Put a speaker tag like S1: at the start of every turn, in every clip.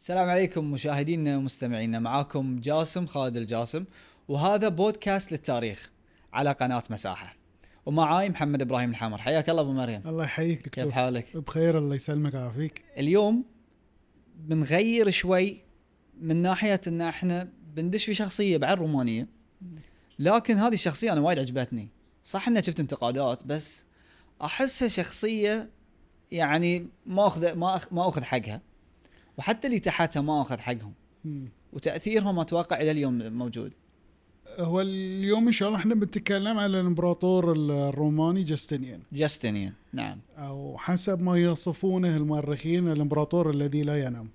S1: السلام عليكم مشاهدينا ومستمعينا معاكم جاسم خالد الجاسم وهذا بودكاست للتاريخ على قناة مساحة ومعاي محمد ابراهيم الحامر حياك الله ابو مريم
S2: الله يحييك دكتور
S1: كيف حالك؟
S2: بخير الله يسلمك ويعافيك
S1: اليوم بنغير شوي من ناحية ان احنا بندش في شخصية بعد رومانية لكن هذه الشخصية انا وايد عجبتني صح اني شفت انتقادات بس احسها شخصية يعني ما اخذ ما أخ ما اخذ حقها وحتى اللي تحتها ما اخذ حقهم
S2: مم.
S1: وتاثيرهم اتوقع الى اليوم موجود
S2: هو اليوم ان شاء الله احنا بنتكلم على الامبراطور الروماني جاستنيان
S1: جاستنيان نعم
S2: او حسب ما يصفونه المؤرخين الامبراطور الذي لا ينام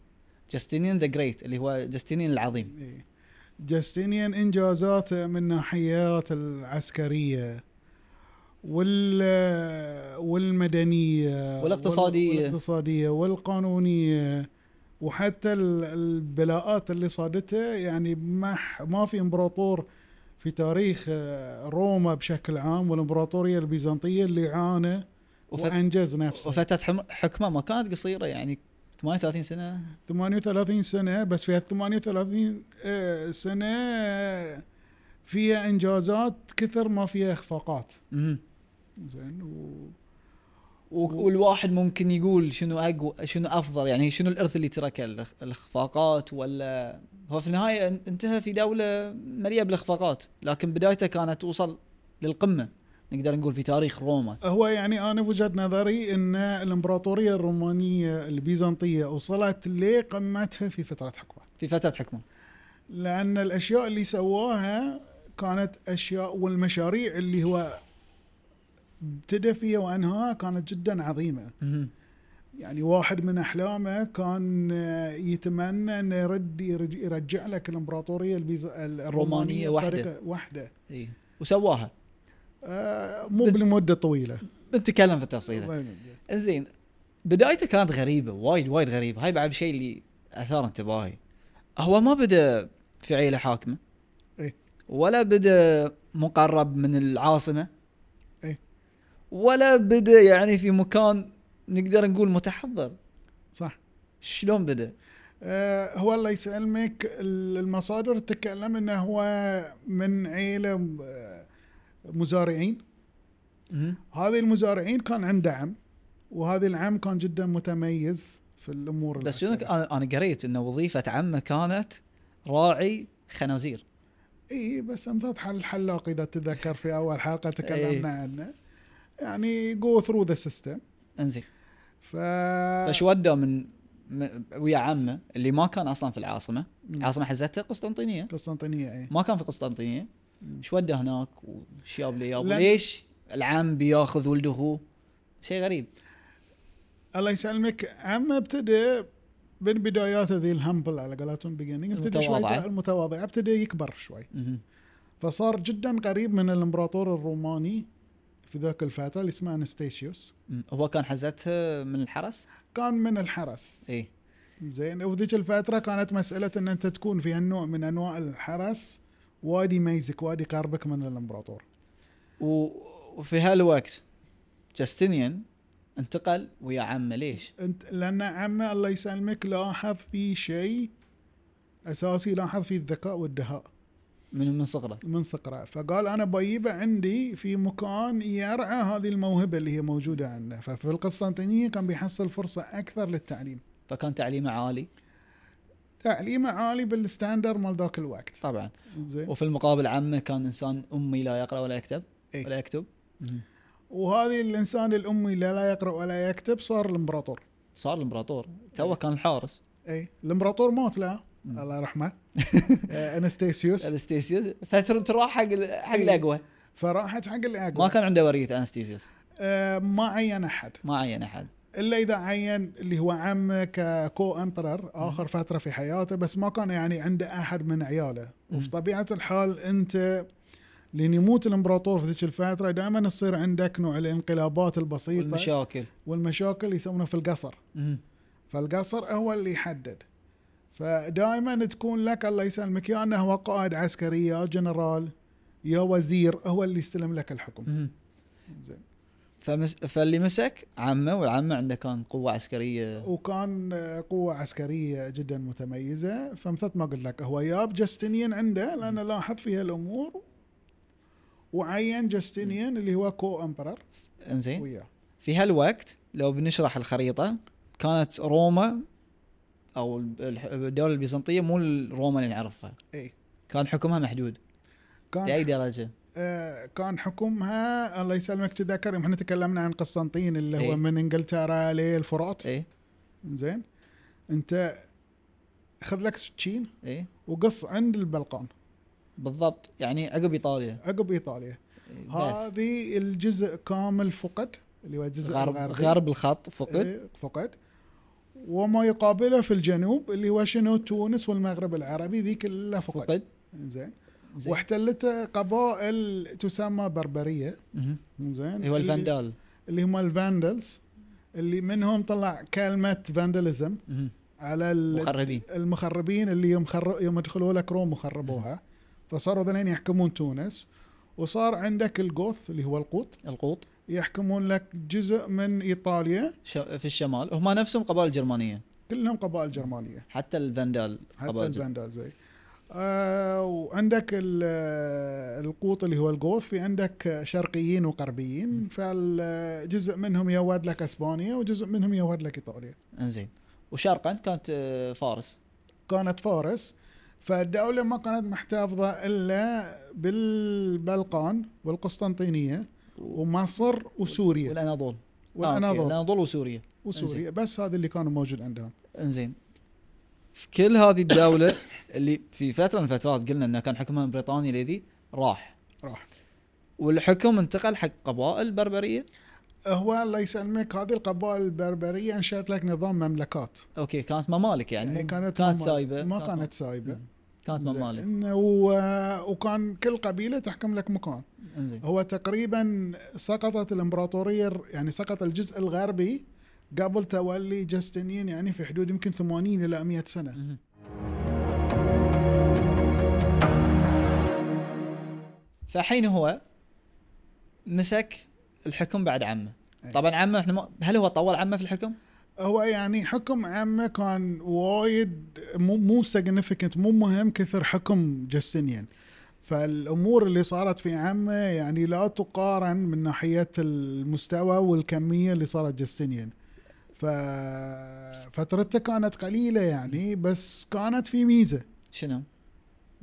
S1: جاستنيان ذا جريت اللي هو جاستنيان العظيم
S2: إيه. جاستنيان انجازاته من ناحيات العسكريه وال والمدنيه
S1: والاقتصادية.
S2: والاقتصاديه والقانونيه وحتى ال- البلاءات اللي صادته يعني ما ح- ما في امبراطور في تاريخ آه، روما بشكل عام والامبراطوريه البيزنطيه اللي عانى
S1: وفت-
S2: وانجز نفسه
S1: وفتره حم- حكمه ما كانت قصيره يعني 38 سنه
S2: 38 سنة بس في هال 38 آه، سنة آه، فيها انجازات كثر ما فيها اخفاقات
S1: مهم.
S2: زين و...
S1: و- والواحد ممكن يقول شنو اقوى شنو افضل يعني شنو الارث اللي تركه الإخ- الاخفاقات ولا هو في النهايه ان- انتهى في دوله مليئه بالاخفاقات لكن بدايته كانت توصل للقمه نقدر نقول في تاريخ روما
S2: هو يعني انا بوجهة نظري ان الامبراطورية الرومانية البيزنطية وصلت لقمتها في فترة حكمه
S1: في فتره حكمه
S2: لان الاشياء اللي سواها كانت اشياء والمشاريع اللي هو ابتدى فيها وانهاها كانت جدا عظيمه
S1: مهم.
S2: يعني واحد من احلامه كان آه، يتمنى انه يرد يرج- يرجع لك الامبراطوريه البيز...
S1: الرومانية
S2: الرومانيه
S1: وحدة.
S2: بطريقة واحده
S1: إيه. وسواها
S2: آه، مو بلمده طويله
S1: بنتكلم في التفصيل زين بدايته كانت غريبه وايد وايد غريبه هاي بعد شيء اللي اثار انتباهي هو ما بدا في عيله حاكمه
S2: إيه.
S1: ولا بدا مقرب من العاصمه
S2: إيه.
S1: ولا بدا يعني في مكان نقدر نقول متحضر
S2: صح
S1: شلون بدا
S2: آه، هو الله يسلمك ال- المصادر تتكلم انه هو من عيله آه، مزارعين
S1: مهم.
S2: هذه المزارعين كان عنده عم وهذا العم كان جدا متميز في الامور
S1: بس شنو آه.
S2: العسكرية.
S1: انا أنا قريت ان وظيفه عمه كانت راعي خنازير
S2: اي بس امثال حل الحلاق اذا تتذكر في اول حلقه
S1: إي.
S2: تكلمنا عنه يعني جو ثرو ذا سيستم
S1: انزين
S2: ف آه.
S1: فش ودوا من م- ويا عمه اللي ما كان اصلا في العاصمه
S2: مم.
S1: العاصمه حزتها قسطنطينيه
S2: قسطنطينيه اي
S1: ما كان في قسطنطينيه
S2: مم.
S1: ايش وده هناك وشياب لي يابا
S2: لأن-
S1: ليش العم بياخذ ولده هو شيء غريب
S2: الله يسلمك عم ابتدى من بداياته ذي الهمبل على قولتهم بيجيننج ابتدى شوي
S1: المتواضعة.
S2: المتواضعه ابتدى يكبر شوي
S1: مهم.
S2: فصار جدا قريب من الامبراطور الروماني في ذاك الفتره اللي اسمه انستيشيوس
S1: مم. هو كان حزتها من الحرس إيه.
S2: كان من الحرس
S1: اي
S2: زين وذيك الفترة كانت مسألة ان انت تكون في هالنوع من انواع الحرس وادي يميزك وادي يقربك من الامبراطور
S1: و... وفي هالوقت جاستينيان انتقل ويا عمه ليش
S2: انت لان عمه الله يسلمك لاحظ في شيء اساسي لاحظ فيه الذكاء والدهاء
S1: من من صغره
S2: من صقره فقال انا بجيبه عندي في مكان يرعى هذه الموهبة اللي هي موجودة عنده ففي القسطنطينية كان بيحصل فرصة اكثر للتعليم
S1: فكان تعليمه عالي
S2: تعليمه عالي بالستاندر مال ذاك الوقت
S1: طبعا
S2: زين
S1: وفي المقابل عمه كان انسان امي لا يقرا ولا يكتب
S2: إيه.
S1: ولا يكتب مهم.
S2: وهذه الانسان الامي اللي لا يقرأ ولا يكتب صار الامبراطور
S1: صار الامبراطور توه كان الحارس
S2: اي الامبراطور مات لا
S1: مم.
S2: الله يرحمه آه، انستيسيوس
S1: انستيسيوس فتره راح حق ال- حق
S2: إيه.
S1: الاقوى
S2: فراحت حق
S1: ما
S2: الاقوى
S1: كان عنده وريث انستيسيوس
S2: آه، ما عين احد
S1: ما عين احد
S2: الا اذا عين اللي هو عمه ككو امبرر اخر فتره في حياته بس ما كان يعني عنده احد من عياله
S1: مم.
S2: وفي طبيعه الحال انت لين يموت الامبراطور في ذيك الفتره دائما يصير عندك نوع الانقلابات البسيطه
S1: والمشاكل
S2: والمشاكل يسمونها في القصر
S1: مهم.
S2: فالقصر هو اللي يحدد فدائما تكون لك الله يسلمك يا انه هو قائد عسكري يا جنرال يا وزير هو اللي يستلم لك الحكم
S1: مهم.
S2: زين
S1: فمس فاللي مسك عمه والعمه عنده كان قوه عسكريه
S2: وكان آه، قوة عسكرية جدا متميزة فمثل ما قلت لك هو ياب جاستينيان عنده لأنه لاحظ فيها الأمور وعين جاستينيان اللي هو كو أمبرر
S1: انزين
S2: وياه
S1: في هالوقت لو بنشرح الخريطه كانت روما او الح- الدوله البيزنطيه مو روما اللي نعرفها
S2: إيه.
S1: كان حكمها محدود لاي
S2: كان
S1: درجه
S2: آه كان حكمها الله يسلمك تذكر يوم احنا تكلمنا عن قسطنطين اللي هو
S1: إيه.
S2: من انجلترا للفرات
S1: اي
S2: زين انت خذ لك سكين
S1: اي
S2: وقص عند البلقان
S1: إيه. بالضبط يعني عقب ايطاليا
S2: عقب ايطاليا
S1: إيه، بس
S2: هذه الجزء كامل فقد اللي هو الجزء
S1: غرب
S2: الغربي
S1: غرب الخط فقد
S2: إيه، فقد وما يقابله في الجنوب اللي هو شنو تونس والمغرب العربي ذي كلها فقد
S1: فقد
S2: زين
S1: زين.
S2: واحتلته قبائل تسمى بربريه
S1: مهم.
S2: زين
S1: هو الفاندال
S2: اللي هم الفاندلز اللي منهم طلع كلمه فاندلزم
S1: مهم.
S2: على ال-
S1: مخربين
S2: المخربين اللي يوم خر... يوم يدخلوا لك روم وخربوها فصاروا ذلين يحكمون تونس وصار عندك الجوث اللي هو القوط
S1: القوط
S2: يحكمون لك جزء من ايطاليا
S1: ش- في الشمال هم نفسهم قبائل جرمانيه
S2: كلهم قبائل جرمانيه
S1: حتى الفاندال
S2: حتى
S1: قبائل جر-
S2: الفاندال زي آه وعندك ال- آه، القوط اللي هو الجوث في عندك شرقيين وغربيين فالجزء منهم يواد لك اسبانيا وجزء منهم يواد لك ايطاليا
S1: انزين وشرقا كانت آه، فارس
S2: كانت فارس فالدولة ما كانت محتفظة إلا بالبلقان والقسطنطينية ومصر وسوريا
S1: والاناضول آه، أوكي،
S2: والأناضول
S1: الاناضول وسوريا
S2: وسوريا بس هذا اللي كانوا موجود عندهم
S1: انزين في كل هذه الدوله اللي في فتره من الفترات قلنا انه كان حكمها بريطاني لذي راح
S2: راح
S1: والحكم انتقل حق قبائل بربريه
S2: هو الله يسلمك هذه القبائل البربرية أنشأت لك نظام مملكات
S1: اوكي كانت ممالك يعني,
S2: يعني كانت
S1: كانت
S2: ممالك-
S1: سايبه
S2: ما كانت سايبة
S1: مم. كانت ممالك
S2: زين. و- وكان كل قبيلة تحكم لك مكان
S1: انزين
S2: هو تقريبا سقطت الامبراطوريه يعني سقط الجزء الغربي قبل تولي جاستنين يعني في حدود يمكن 80 الى 100 سنه
S1: مهم. فحين هو مسك الحكم بعد عمه
S2: أي.
S1: طبعا عمه احنا ما هل هو طول عمه في الحكم؟
S2: هو يعني حكم عامه كان وايد مو مو significant مو مهم كثر حكم جاستنين فالامور اللي صارت في عامه يعني لا تقارن من ناحيه المستوى والكميه اللي صارت جاستنين ففترته كانت قليله يعني بس كانت في ميزه
S1: شنو؟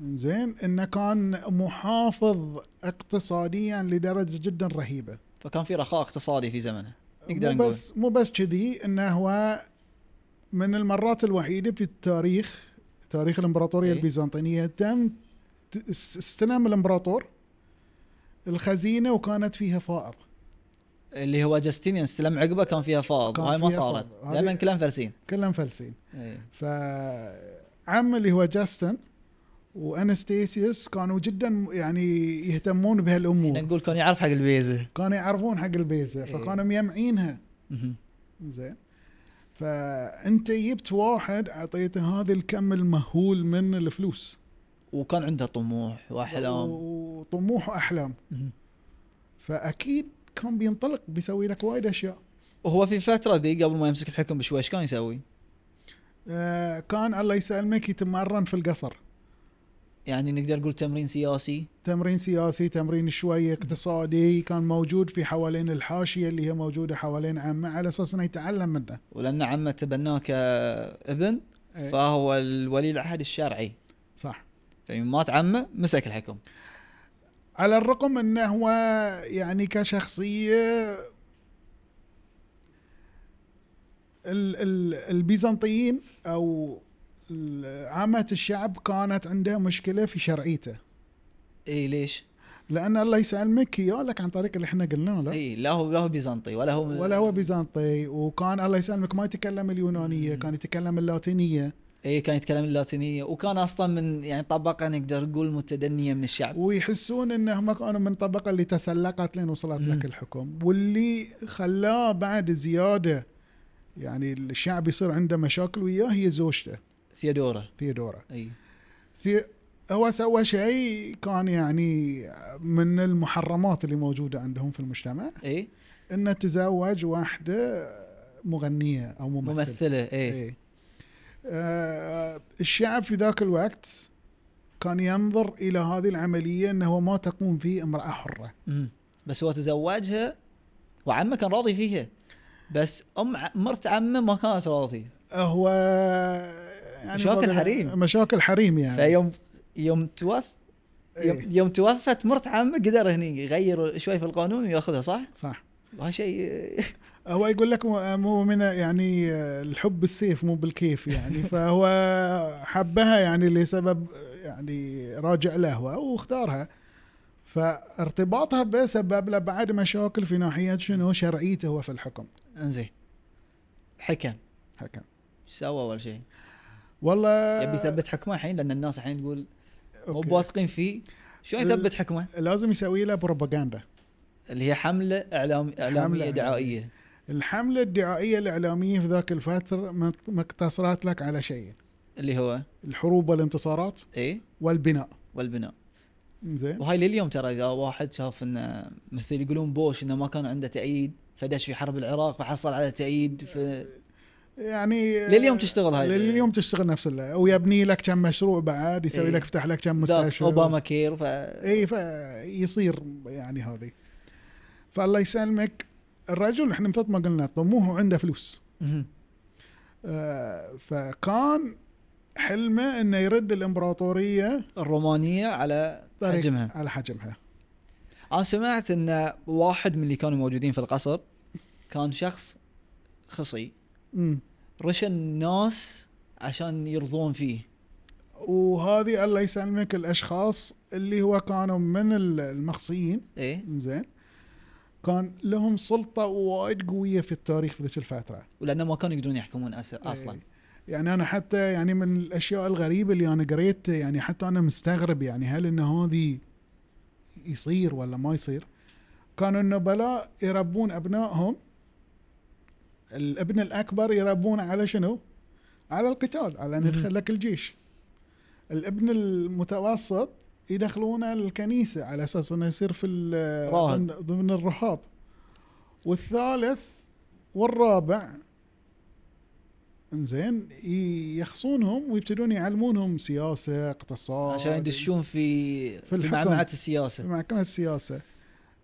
S2: زين انه كان محافظ اقتصاديا لدرجه جدا رهيبه
S1: فكان في رخاء اقتصادي في زمنه نقدر
S2: مو
S1: نقول
S2: بس مو بس كذي انه هو من المرات الوحيده في التاريخ تاريخ الامبراطوريه
S1: إيه.
S2: البيزنطينيه تم ت- است- استلم الامبراطور الخزينه وكانت فيها فائض
S1: اللي هو جاستينيان استلم عقبه كان فيها فاض
S2: كان
S1: وهاي ما
S2: فيها
S1: صارت
S2: فاض. هذه- إيه.
S1: دائما كلام فرسين
S2: كلهم فلسين
S1: اي
S2: فعم اللي هو جاستن وانستيسيوس كانوا جدا يعني يهتمون
S1: احنا
S2: بهالامور
S1: نقول كان يعرف حق البيزه
S2: كانوا يعرفون حق البيزه
S1: إيه.
S2: فكانوا مجمعينها
S1: مهم.
S2: زين فانت جبت واحد اعطيته هذا الكم المهول من الفلوس
S1: وكان عنده طموح واحلام
S2: وطموح واحلام
S1: مهم.
S2: فاكيد كان بينطلق بيسوي لك وايد اشياء
S1: وهو في الفتره ذي قبل ما يمسك الحكم بشوي ايش كان يسوي؟
S2: آه كان الله يسلمك يتمرن في القصر
S1: يعني نقدر نقول تمرين سياسي
S2: تمرين سياسي تمرين شوي اقتصادي كان موجود في حوالين الحاشيه اللي هي موجوده حوالين عمه على اساس انه يتعلم منه
S1: ولان عمه تبناه كابن
S2: إيه.
S1: فهو الولي العهد الشرعي
S2: صح
S1: فيوم مات عمه مسك الحكم
S2: على الرغم انه هو يعني كشخصيه ال ال البيزنطيين او ال- عامة الشعب كانت عندها مشكله في شرعيته إيه،
S1: اي ليش؟
S2: لان الله يسلمك يالك عن طريق اللي احنا قلناه له
S1: اي إيه، لا هو لا هو بيزنطي ولا هو
S2: ولا هو بيزنطي وكان الله يسلمك ما يتكلم اليونانيه كان يتكلم اللاتينيه
S1: اي إيه، كان يتكلم اللاتينيه وكان اصلا من يعني طبقه نقدر نقول متدنيه من الشعب
S2: ويحسون انهم كانوا من الطبقه اللي تسلقت لين وصلت
S1: مم.
S2: لك الحكم واللي خلاه بعد زياده يعني الشعب يصير عنده مشاكل وياه هي زوجته إيه.
S1: ثيودوره
S2: ثيودورا
S1: اي
S2: ثي هو سوى شيء كان يعني من المحرمات اللي موجوده عندهم في المجتمع
S1: اي
S2: انه تزوج واحده مغنيه او ممثله
S1: ممثله اي
S2: إيه. آه الشعب في ذاك الوقت كان ينظر الى هذه العمليه انه ما تقوم فيه امراه حره
S1: مم. بس هو تزوجها وعمه كان راضي فيها بس ام ع- مرت عمه ما كانت راضيه
S2: هو يعني
S1: مشاكل
S2: بقول-
S1: حريم.
S2: مشاكل حريم يعني
S1: فيوم يوم توف يوم,
S2: إيه.
S1: يوم توفت مرت عمه قدر هني يغير شوي في القانون وياخذها صح؟
S2: صح
S1: وهذا شيء
S2: هو يقول لك مو- مو من يعني الحب السيف مو بالكيف يعني فهو حبها يعني لسبب يعني راجع له هو واختارها فارتباطها به سبب له بعد مشاكل في ناحيه شنو شرعيته هو في الحكم
S1: انزين حكم
S2: حكم
S1: ايش سوى اول شيء؟
S2: والله
S1: يبي يثبت حكمه الحين لان الناس الحين تقول مو
S2: آه. أوكي.
S1: بواثقين فيه شلون
S2: ال-
S1: يثبت حكمه؟
S2: لازم يسوي له بروباغندا
S1: اللي هي حمله اعلام اعلاميه
S2: إعلامية.
S1: دعائيه
S2: الحملة الدعائية الإعلامية في ذاك الفترة ما ما اقتصرت لك على شيء
S1: اللي هو
S2: الحروب والانتصارات
S1: اي
S2: والبناء
S1: والبناء
S2: زين
S1: وهاي لليوم ترى اذا واحد شاف انه مثل يقولون بوش انه ما كان عنده تأييد فدش في حرب العراق فحصل على تأييد ف...
S2: يعني
S1: لليوم تشتغل هاي
S2: لليوم تشتغل نفس ال- ويبني لك كم مشروع بعد يسوي
S1: إيه.
S2: لك يفتح لك كم
S1: ذاك
S2: مستشفى
S1: اوباما كير ف
S2: اي فيصير يعني هذه فالله يسلمك الرجل احنا مثل ما قلنا طموحه عنده فلوس
S1: مهم.
S2: آه، فكان حلمه انه يرد الامبراطوريه
S1: الرومانيه على
S2: طريق-
S1: حجمها
S2: على حجمها
S1: انا سمعت ان واحد من اللي كانوا موجودين في القصر كان شخص خصي
S2: امم
S1: رشى الناس عشان يرضون فيه
S2: وهذه الله يسلمك الاشخاص اللي هو كانوا من ال- المخصيين
S1: ايه
S2: زين كان لهم سلطه وايد قويه في التاريخ في ذيك الفتره
S1: ولانه ما كانوا يقدرون يحكمون أس- اصلا
S2: إيه. يعني انا حتى يعني من الاشياء الغريبه اللي انا قريت يعني حتى انا مستغرب يعني هل ان هذه يصير ولا ما يصير كانوا النبلاء يربون ابنائهم الابن الاكبر يربون على شنو؟ على القتال على ان
S1: مم.
S2: يدخل لك الجيش الابن المتوسط يدخلونه الكنيسه على اساس انه يصير في ال-
S1: راهب.
S2: ضمن, ضمن الرهاب والثالث والرابع انزين ي- يخصونهم ويبتدون يعلمونهم سياسه اقتصاد
S1: عشان يدشون في في,
S2: آه، الحكم.
S1: معمعه السياسه
S2: المحكمة السياسة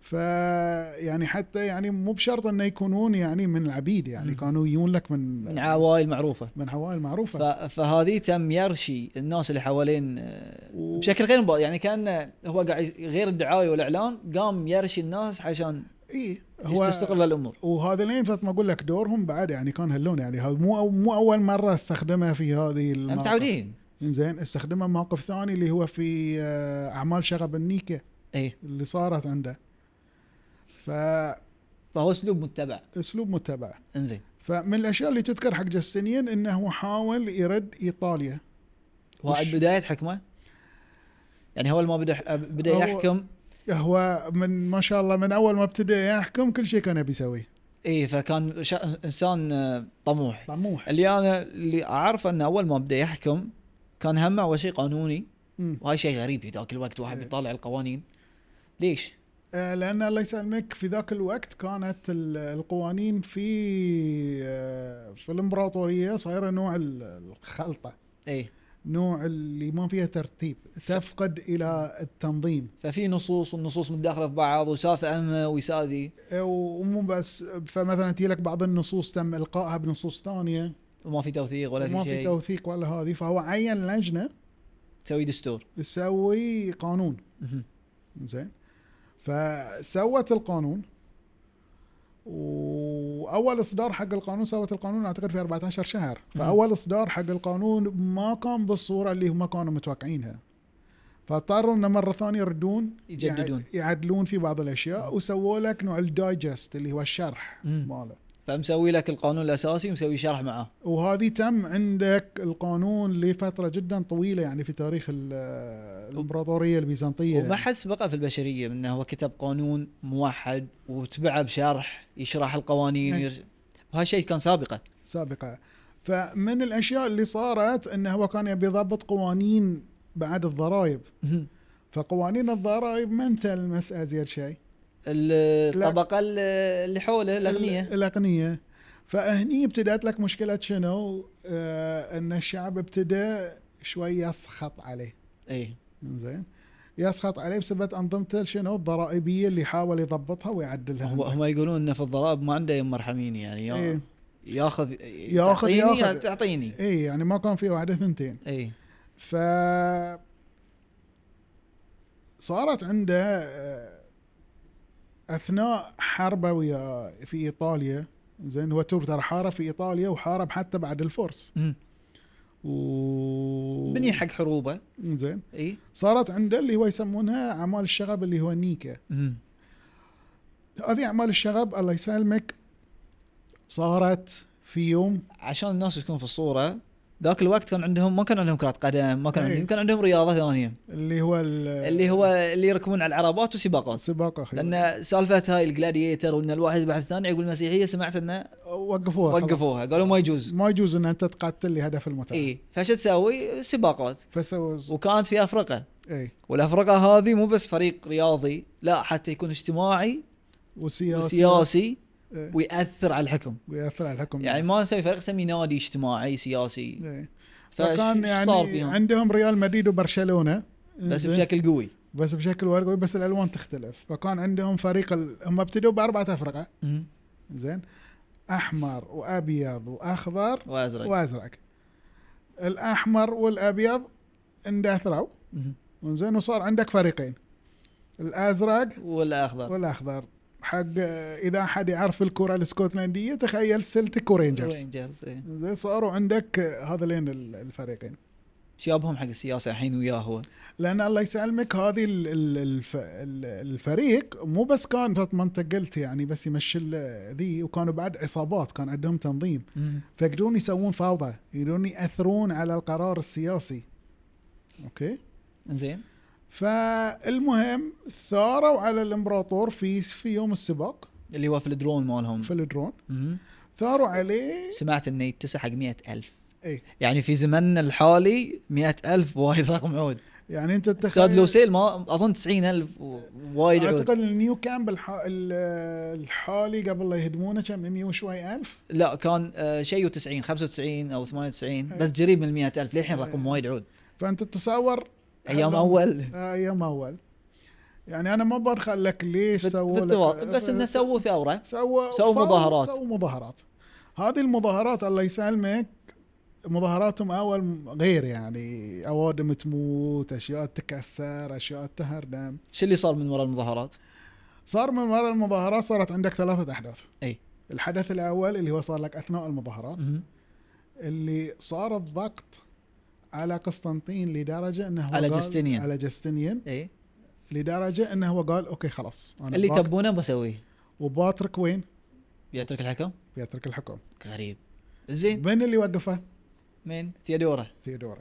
S2: ف يعني حتى يعني مو بشرط انه يكونون يعني من العبيد يعني
S1: مم.
S2: كانوا يجون لك من
S1: من يعني عوائل معروفه
S2: من عوائل معروفة
S1: ف... فهذه تم يرشي الناس اللي حوالين آه،
S2: و-
S1: بشكل غير مباشر يعني كانه هو قاعد ي- غير الدعايه والاعلان قام يرشي الناس عشان
S2: اي
S1: هو تستغل الامور
S2: وهذين مثل ما اقول لك دورهم بعد يعني كان هاللون يعني هذا مو مو اول مره استخدمها في هذه
S1: هم
S2: المواقف
S1: متعودين
S2: زين استخدمها موقف ثاني اللي هو في آه، اعمال شغب النيكه
S1: اي
S2: اللي صارت عنده فاسلوب
S1: فهو اسلوب متبع
S2: متبع
S1: انزين
S2: فمن الاشياء اللي تذكر حق جاستنيان انه حاول يرد ايطاليا
S1: هو
S2: وش-
S1: بدايه حكمه يعني هو ما بدا بدا
S2: هو-
S1: يحكم
S2: هو من ما شاء الله من اول ما ابتدى يحكم كل شيء كان يبي يسويه
S1: اي إيه، فكان شا... انسان آه، طموح
S2: طموح
S1: اللي انا اللي اعرفه انه اول ما بدا يحكم كان همه اول شيء قانوني
S2: مم.
S1: وهاي شيء غريب في ذاك الوقت واحد
S2: إيه.
S1: بيطالع القوانين ليش؟
S2: آه، لان الله يسلمك في ذاك الوقت كانت ال- القوانين في آه، في الامبراطوريه صايره نوع ال- الخلطه
S1: اي
S2: نوع اللي ما فيها ترتيب تفقد الى التنظيم
S1: ففي نصوص والنصوص متداخله في بعض وساف امه ويساذي
S2: آه، ومو بس فمثلا تجي لك بعض النصوص تم القائها بنصوص ثانيه
S1: وما في توثيق ولا
S2: وما
S1: في
S2: في
S1: شيء
S2: توثيق ولا هذه فهو عين لجنه
S1: تسوي دستور
S2: تسوي قانون
S1: مهم.
S2: زين فسوت القانون واول اصدار حق القانون سوت القانون اعتقد في 14 شهر فاول اصدار حق القانون ما كان بالصوره اللي هم كانوا متوقعينها فاضطروا انه مره ثانيه يردون
S1: يجددون.
S2: يع- يعدلون في بعض الاشياء وسووا لك نوع الدايجست اللي هو الشرح
S1: مم.
S2: ماله
S1: فمسوي لك القانون الاساسي ومسوي شرح معاه
S2: وهذه تم عندك القانون لفتره جدا طويله يعني في تاريخ ال- الامبراطوريه البيزنطيه
S1: وما حد سبقه في البشريه من انه هو كتب قانون موحد وتبعه بشرح يشرح القوانين
S2: إيه.
S1: ير... وهذا شيء كان سابقه
S2: سابقه فمن الاشياء اللي صارت انه هو كان يبي يضبط قوانين بعد الضرائب فقوانين الضرائب ما تلمس ازيد شيء
S1: الطبقه ال- اللي حوله
S2: ال-
S1: الاغنياء
S2: الاغنياء فهني ابتدات لك مشكله شنو؟ آه ان الشعب ابتدى شوي يسخط عليه
S1: اي
S2: زين يسخط عليه بسبب انظمته شنو الضرائبيه اللي حاول يضبطها ويعدلها
S1: هو هم يقولون انه في الضرائب ما عنده يم مرحمين يعني يا
S2: إيه.
S1: ياخذ
S2: ياخذ-
S1: تعطيني
S2: ياخذ.
S1: يا تعطيني إيه.
S2: اي يعني ما كان في واحده ثنتين
S1: اي
S2: ف صارت عنده آه، اثناء حربه ويا في ايطاليا زين هو تور ترى حارب في ايطاليا وحارب حتى بعد الفرس
S1: مم.
S2: و
S1: بني حق إيه. حروبه
S2: زين
S1: اي
S2: صارت عنده اللي هو يسمونها اعمال الشغب اللي هو النيكا
S1: مم.
S2: هذه اعمال الشغب الله يسلمك صارت في يوم
S1: عشان الناس تكون في الصوره ذاك الوقت كان عندهم ما كان عندهم كرة قدم ما كان
S2: إيه.
S1: عندهم كان عندهم رياضه ثانيه
S2: اللي هو ال-
S1: اللي هو اللي يركبون على العربات وسباقات
S2: سباق اخي
S1: لان سالفه هاي الجلاديتر وان الواحد بعد الثاني عقب المسيحيه سمعت انه
S2: وقفوها خلاص. طيب.
S1: وقفوها قالوا ما يجوز
S2: ما يجوز ان انت تقتل لهدف المتعه
S1: اي فش تسوي سباقات
S2: فسووا
S1: وكانت في افرقه
S2: اي
S1: والافرقه هذه مو بس فريق رياضي لا حتى يكون اجتماعي
S2: وسياسي
S1: وسياسي
S2: إيه.
S1: وياثر على الحكم
S2: وياثر على الحكم
S1: يعني ما نسوي فريق نسميه نادي اجتماعي سياسي
S2: إيه.
S1: فش-
S2: فكان
S1: شو صار
S2: يعني
S1: فيهم
S2: عندهم ريال مدريد وبرشلونه
S1: بس
S2: إنزين.
S1: بشكل قوي
S2: بس بشكل ورقي بس الالوان تختلف فكان عندهم فريق ال... هم ابتدوا باربعه افرقه
S1: مم.
S2: زين احمر وابيض واخضر
S1: وازرق
S2: وازرق الاحمر والابيض اندثروا
S1: مم.
S2: زين وصار عندك فريقين الازرق
S1: والاخضر
S2: والاخضر حق اذا احد يعرف الكره الاسكتلنديه تخيل سلتك ورينجرز
S1: رينجرز إيه.
S2: زين صاروا عندك هذين ال- الفريقين
S1: شابهم حق السياسه الحين وياه هو
S2: لان الله يسلمك هذه ال- ال- الف- ال- الفريق مو بس كان مثل ما انت قلت يعني بس يمشي ال- ذي وكانوا بعد عصابات كان عندهم تنظيم فيقدرون يسوون فوضى يقدرون ياثرون على القرار السياسي اوكي
S1: زين
S2: فالمهم ثاروا على الامبراطور في في يوم السباق
S1: اللي هو في الدرون مالهم
S2: في الدرون
S1: مم.
S2: ثاروا عليه
S1: سمعت انه يتسع حق مئة ألف
S2: اي
S1: يعني في زمننا الحالي مئة ألف وايد رقم عود
S2: يعني انت
S1: استاذ لوسيل ما اظن 90000 وايد عود
S2: اعتقد النيو كامب الح... ال- الحالي قبل لا يهدمونه كم 100 وشوي الف
S1: لا كان آه، شيء و90 95 او
S2: إيه.
S1: 98 بس قريب من 100000 للحين رقم وايد عود
S2: فانت تتصور
S1: ايام
S2: هذا-
S1: اول
S2: آه، ايام اول يعني انا ما بدخل لك ليش
S1: في
S2: سووا
S1: في
S2: لك- آه، إيه.
S1: التوا- بس انه سووا ثوره
S2: سووا
S1: سووا
S2: فو-
S1: مظاهرات.
S2: سووا مظاهرات هذه المظاهرات الله يسلمك مظاهراتهم اول م- غير يعني اوادم تموت اشياء تكسر اشياء تهردم
S1: شو اللي صار من وراء المظاهرات؟
S2: صار من وراء المظاهرات صارت عندك ثلاثه احداث
S1: أي.
S2: الحدث الاول اللي هو صار لك اثناء المظاهرات
S1: مهم.
S2: اللي صار الضغط على قسطنطين لدرجه انه هو
S1: على
S2: قال-
S1: جستنيان.
S2: على جستنيان
S1: اي
S2: لدرجه انه هو قال اوكي خلاص انا
S1: إيه. اللي
S2: باك-
S1: تبونه بسويه
S2: وباترك وين؟
S1: بيترك الحكم؟
S2: بيترك الحكم
S1: غريب زين
S2: من اللي وقفه؟
S1: مين؟ ثيودوره
S2: ثيودورا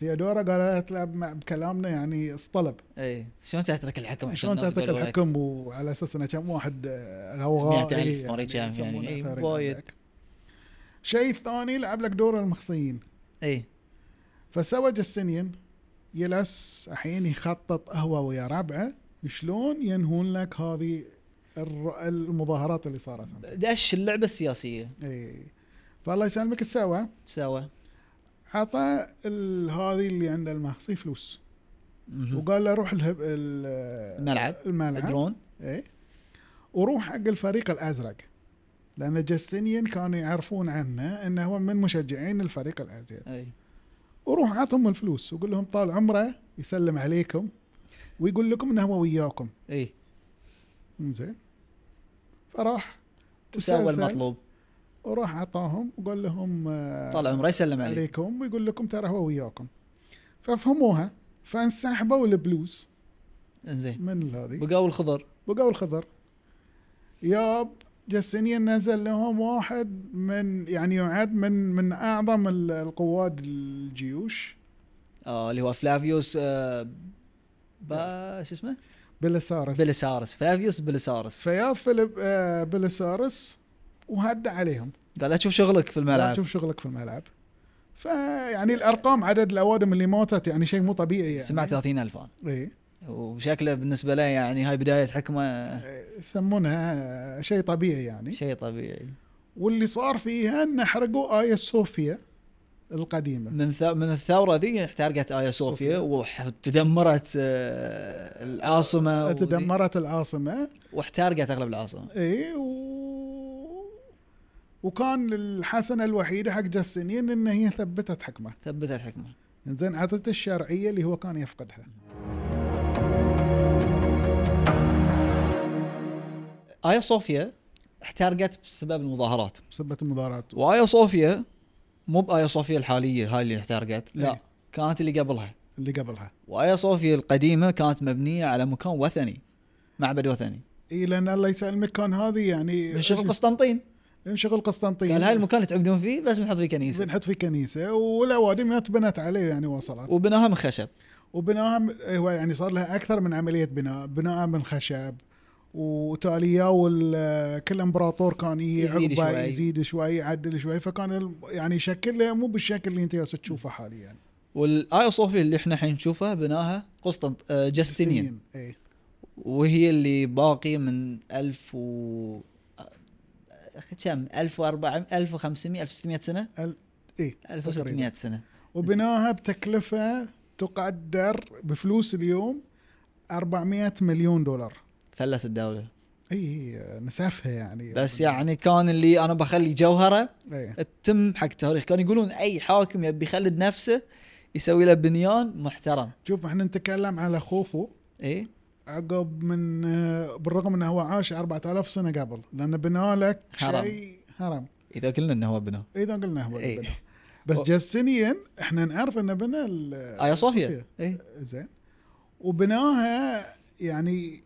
S2: ثيودورا قالت له بم- بكلامنا يعني اصطلب
S1: اي إيه. شلون تترك الحكم عشان
S2: شلون
S1: الناس
S2: تترك
S1: يقولوا لك؟
S2: الحكم وعلى اساس انه كم واحد آه،
S1: مئة ألف
S2: غوغاء إيه،
S1: مريض كم يعني،
S2: يسمونه
S1: إيه،
S2: فارق
S1: وايد.
S2: عندك. شيء ثاني لعب لك دور المخصيين
S1: اي
S2: فسوى جسنين يلس الحين يخطط هو ويا ربعه شلون ينهون لك هذه الر- المظاهرات اللي صارت
S1: دش اللعبه السياسيه
S2: اي فالله يسلمك ايش سوى؟
S1: سوا
S2: عطى ال- هذه اللي عند المخصي فلوس
S1: مهم.
S2: وقال له روح الهب ال-
S1: الملعب.
S2: الملعب
S1: درون
S2: اي إيه؟ وروح حق الفريق الازرق لان جاستينيان كانوا يعرفون عنه انه هو من مشجعين الفريق الازرق
S1: اي
S2: وروح عطهم الفلوس وقول لهم طال عمره يسلم عليكم ويقول لكم انه هو وياكم
S1: اي
S2: زين فراح
S1: سوى
S2: تسلسل
S1: المطلوب
S2: وراح عطاهم وقال لهم آه،
S1: طال عمره يسلم عليك
S2: عليكم ويقول لكم ترى هو وياكم ففهموها فانسحبوا البلوز
S1: انزين
S2: من هذه
S1: بقاو الخضر
S2: بقوا الخضر ياب جسنيا نزل لهم واحد من يعني يعد من من اعظم ال- القواد الجيوش
S1: آه اللي هو فلافيوس آه با شو اسمه؟
S2: بيليسارس
S1: بيليسارس فلافيوس بيليسارس
S2: فيا فيليب آه، بيليسارس وهدى عليهم
S1: قال لا تشوف شغلك في
S2: لا
S1: الملعب
S2: تشوف شغلك في الملعب فيعني الارقام عدد الاوادم اللي ماتت يعني شيء مو طبيعي يعني إيه.
S1: سمعت 30000 انا
S2: اي
S1: وشكله بالنسبه له يعني هاي بدايه حكمه
S2: يسمونها شيء طبيعي يعني
S1: شيء طبيعي
S2: واللي صار فيها ان حرقوا ايا صوفيا القديمه
S1: من ث... من الثوره ذي يعني احترقت ايا
S2: صوفيا.
S1: صوفيا وتدمرت آه، العاصمه وذي-
S2: تدمرت العاصمه
S1: واحترقت اغلب العاصمه
S2: اي و... إيه، وكان الحسنه الوحيده حق جسنين ان هي ثبتت حكمه
S1: ثبتت حكمه
S2: زين عطته الشرعيه اللي هو كان يفقدها
S1: ايا صوفيا احترقت بسبب المظاهرات
S2: بسبه المظاهرات
S1: وايا صوفيا مو بايا صوفيا الحاليه هاي اللي احترقت لا
S2: إيه.
S1: كانت اللي قبلها
S2: اللي قبلها
S1: وايا صوفيا القديمه كانت مبنيه على مكان وثني معبد وثني
S2: اي لان إيه، الله يسلمك كان هذه يعني
S1: من شغل قسطنطين
S2: انشغل قسطنطين
S1: قال هاي المكان اللي تعبدون فيه بس بنحط فيه كنيسه
S2: بنحط فيه كنيسه والاوادم بنت عليه يعني وصلت
S1: وبناها من خشب
S2: وبناها م- هو يعني صار لها اكثر من عمليه بناء بناء من خشب وتاليه وال- كل امبراطور كان هي
S1: يزيد
S2: عقبه
S1: شوي.
S2: يزيد شوي يعدل شوي فكان الم- يعني شكله مو بالشكل اللي انت جالس تشوفه حاليا
S1: والايا صوفيا اللي احنا الحين نشوفها بناها قسطنط آه، جاستينيان
S2: اي
S1: وهي اللي باقي من 1000 و أخ- كم 1400 1500 1600 سنه
S2: ال- اي
S1: 1600 سنه
S2: وبناها بتكلفه تقدر بفلوس اليوم 400 مليون دولار
S1: فلست الدوله
S2: اي نسفها يعني
S1: بس يعني كان اللي انا بخلي جوهره
S2: إيه.
S1: تم حق تاريخ كانوا يقولون اي حاكم يبي يخلد نفسه يسوي له بنيان محترم
S2: شوف احنا نتكلم على خوفو
S1: ايه
S2: عقب من آه، بالرغم انه هو عاش 4000 سنه قبل لان بنى لك
S1: هرم.
S2: شيء هرم
S1: اذا قلنا انه هو بنى
S2: اذا قلنا هو اللي
S1: إيه.
S2: بنى بس
S1: و-
S2: جاستينيان احنا نعرف انه بنى ال-
S1: ايا صوفيا ايه
S2: زين وبناها يعني